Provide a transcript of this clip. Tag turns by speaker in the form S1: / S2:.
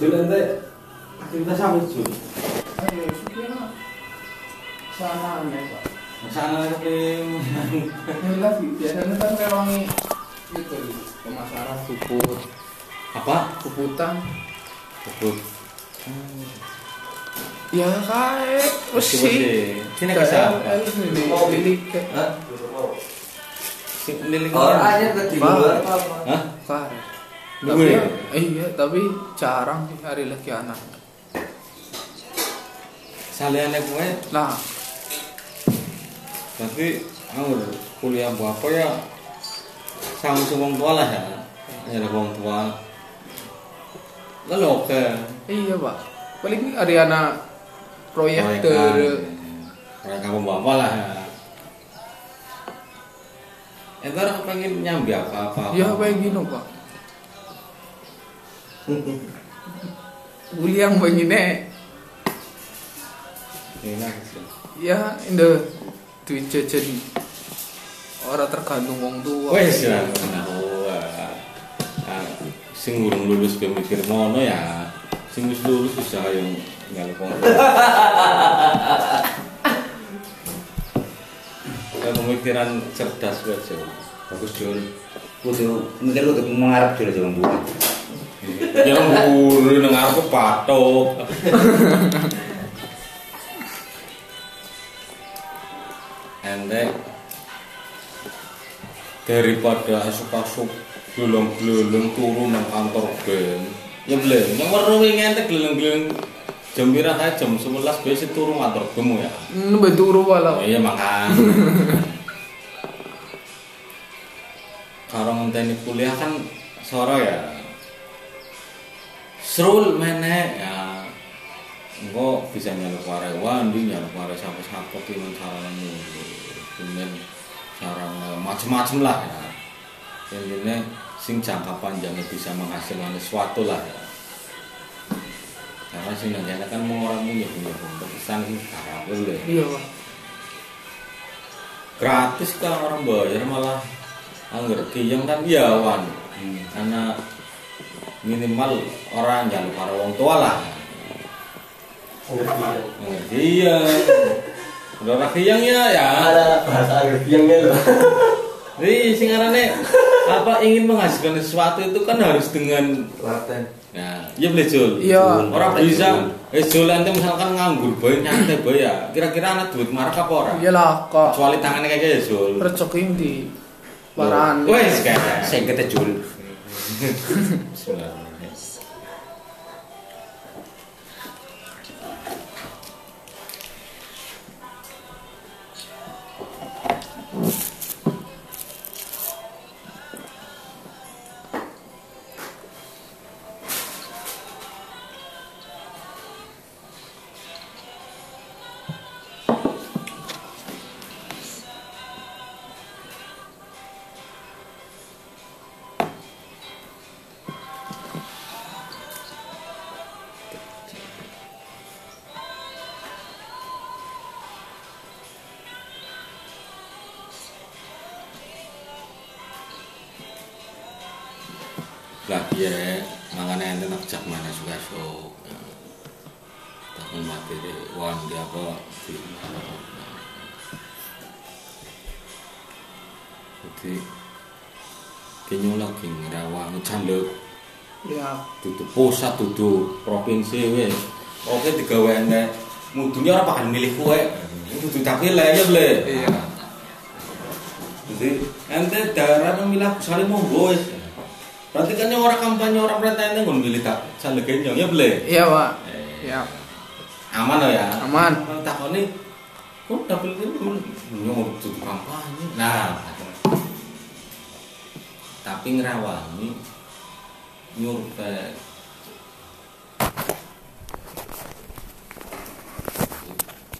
S1: Bülent'e kimde şahit yok.
S2: Hayır, çünkü ama sana mereka.
S1: Sana kim?
S2: Enggak sih, biasanya kan rewangi itu pemasaran suput,
S1: Apa?
S2: suputan.
S1: Kebut.
S2: Ya kae, mesti.
S1: Sini kisah.
S2: Mau pilih
S1: Hah? Sing milik
S3: Orang
S1: mana?
S3: aja ketiduran apa?
S1: Hah?
S2: kae.
S1: Dulu ya?
S2: eh, iya, tapi jarang sih hari lagi anak.
S1: Saliannya gue
S2: Nah,
S1: Tapi ngawur anu, kuliah bapak ya sama wong tua lah ya. Ya ada wong tua. Lalu oke.
S2: iya pak. Paling ini Ariana
S1: iya,
S2: Iya, proyektor.
S1: Mereka bapak lah. ya. Entar pengen nyambi apa apa.
S2: Ya kayak gini pak. Uli yang begini,
S1: Enak sih.
S2: ya indah duit jajan orang tergantung wong tua.
S1: Wes ya. Nah, wah. Ah, sing urung lulus ke mikir ngono ya. Sing wis lulus usaha yang ngalung. pemikiran cerdas wae.
S3: Bagus Jul. Kudu mikir kudu mengarep Jul jangan buat.
S1: Ya mburi nang aku patok. Ente daripada asup-asup gelem-gelem turu nang kantor ben. Ya belum, nang weruh wingi ente gelem-gelem jam pirang ae jam 11 biasa turu kantor bemu ya.
S2: Ini betul rupa lah.
S1: Iya makan. Karo ngenteni kuliah kan sore ya. Serul menek ya. Engko bisa nyaluk karyawan, di nyaluk karyawan sampai-sampai dengan caranya dengan cara eh, macem-macem lah ya. Intinya sing jangka panjangnya bisa menghasilkan sesuatu lah ya. Karena sing nantinya kan mau orang punya punya kesan sing ya. harap boleh
S2: Iya pak.
S1: gratis kan orang bayar malah anggar kiyang kan iya wan karena minimal orang jangan para wong tua lah anggar kiyang udah iya. orang kiyang ya ya
S3: Ada bahasa Agriangnya loh.
S1: jadi singarane apa ingin menghasilkan sesuatu itu kan harus dengan
S3: Laten.
S1: Nah, iya boleh Jul.
S2: Iya.
S1: Orang bisa, eh Jul nanti misalkan nganggur bayi nyantai bayi ya. Kira-kira anak duit marah apa orang?
S2: Iyalah kok.
S1: Kecuali tangannya kayaknya ya Jul.
S2: Rezeki di paran.
S1: Wes kayak.
S3: Saya kata Jul.
S1: Bismillahirrahmanirrahim. Lah iya, makanya ente nak jak mana Oh, suka sok. Takun mati deh, wan dia apa? di- Jadi, kayaknya lagi ngerawang canduk.
S2: Ya.
S1: dudu pusat dudu provinsi wis oke digawe ene mudunya ora bakal milih kowe dudu tapi le ya le iya jadi ente daerah memilih misalnya mau wis berarti kan yang orang kampanye orang perintah ente nggak milih tak salah kenyang ya le
S2: Iya pak. Ya.
S1: aman lah ya
S2: Aman.
S1: tak ini kok dapil ini nyuruh dudu kampanye nah tapi ngerawangi nyuruh